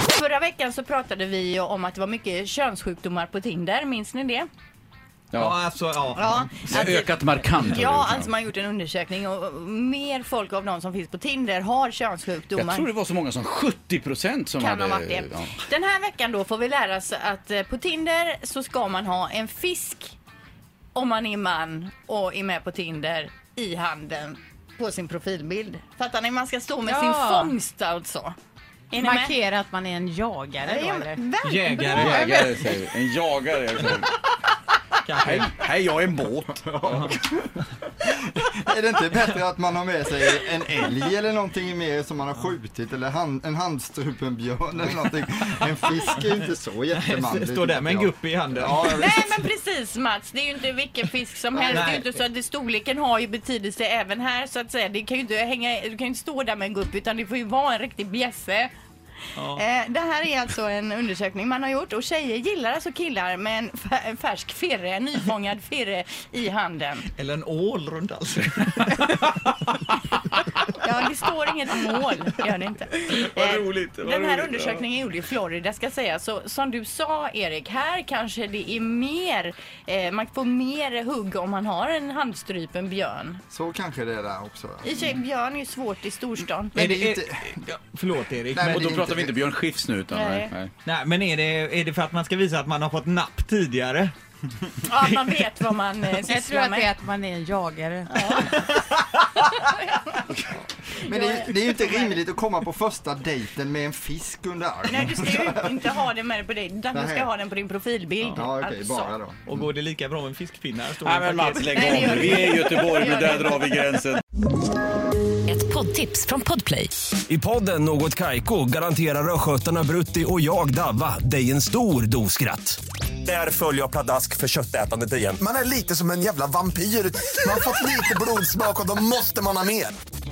Förra veckan så pratade vi ju om att det var mycket könssjukdomar på Tinder, minns ni det? Ja. Ja, alltså, ja. Ja, alltså, Det har ökat markant. liksom. Ja, alltså man har gjort en undersökning och och mer folk av de som finns på Tinder har könssjukdomar. Jag tror det var så många som 70 procent som Kan hade... ha varit det. Ja. Den här veckan då får vi lära oss att eh, på Tinder så ska man ha en fisk om man är man och är med på Tinder i handen på sin profilbild. Fattar ni? Man ska stå med Ja. sin fångst alltså. Är ni med? Markera att man är en jagare då, Ja, eller? men verkligen. Jägare. Jägare säger vi. En jagare säger vi. Kanske. Hej, hej, jag är en båt. Är det inte bättre att man har med sig en älg eller någonting mer som man har skjutit eller hand, en handstrupen björn eller någonting? En fisk är ju inte så jättemanlig. Står där med en tycker jag. gupp i handen. Ja, jag vet. Nej men precis Mats, det är ju inte vilken fisk som helst. Det är ju inte så att det, storleken har ju betydelse även här så att säga. Det kan ju inte hänga, du kan ju inte stå där med en gupp utan det får ju vara en riktig bjässe. Eh, Det här är alltså en undersökning man har gjort och tjejer gillar alltså killar med en fä- färsk firre, en nyfångad firre i handen. Eller en ål runt halsen. Ja, det står inget mål, gör det inte. Eh, Den här undersökningen gjorde i Florida ska säga. Så som du sa Erik, här kanske det är mer, eh, man får mer hugg om man har en handstrypen björn. Så kanske det är där också. I och för Mm. sig, björn är ju svårt i storstan. Men Mm. Är det är det, inte- är, ja, förlåt Erik, Nej, men, men Och det är då inte- pratar vi inte Björn Skifs nu utan... Nej. Nej. nej, men är, det, är det för att man ska visa att man har fått napp tidigare? Ja, man vet vad man eh, Jag tror att sysslar det är med. att man är en jagare. Men det, är- det är ju inte rimligt att komma på första dejten med en fisk under Nej, armen. du ska ju inte ha den med dig på dig, utan du Nej. ska ha den på din profilbild. Ja, okej, alltså. bara då. Och går det lika bra med fiskpinnar? Står Nej det i men paket. Mats, lägg Nej, det av gör nu. det Vi är i Göteborg, Det men gör där det. drar vi gränsen. Ett poddtips från Podplay. I podden Något Kaiko garanterar östgötarna Brutti och jag, Davva, dig en stor dos skratt. Där följer jag pladask för köttätandet igen. Man är lite som en jävla vampyr. Man har fått lite blodsmak och då måste man ha mer.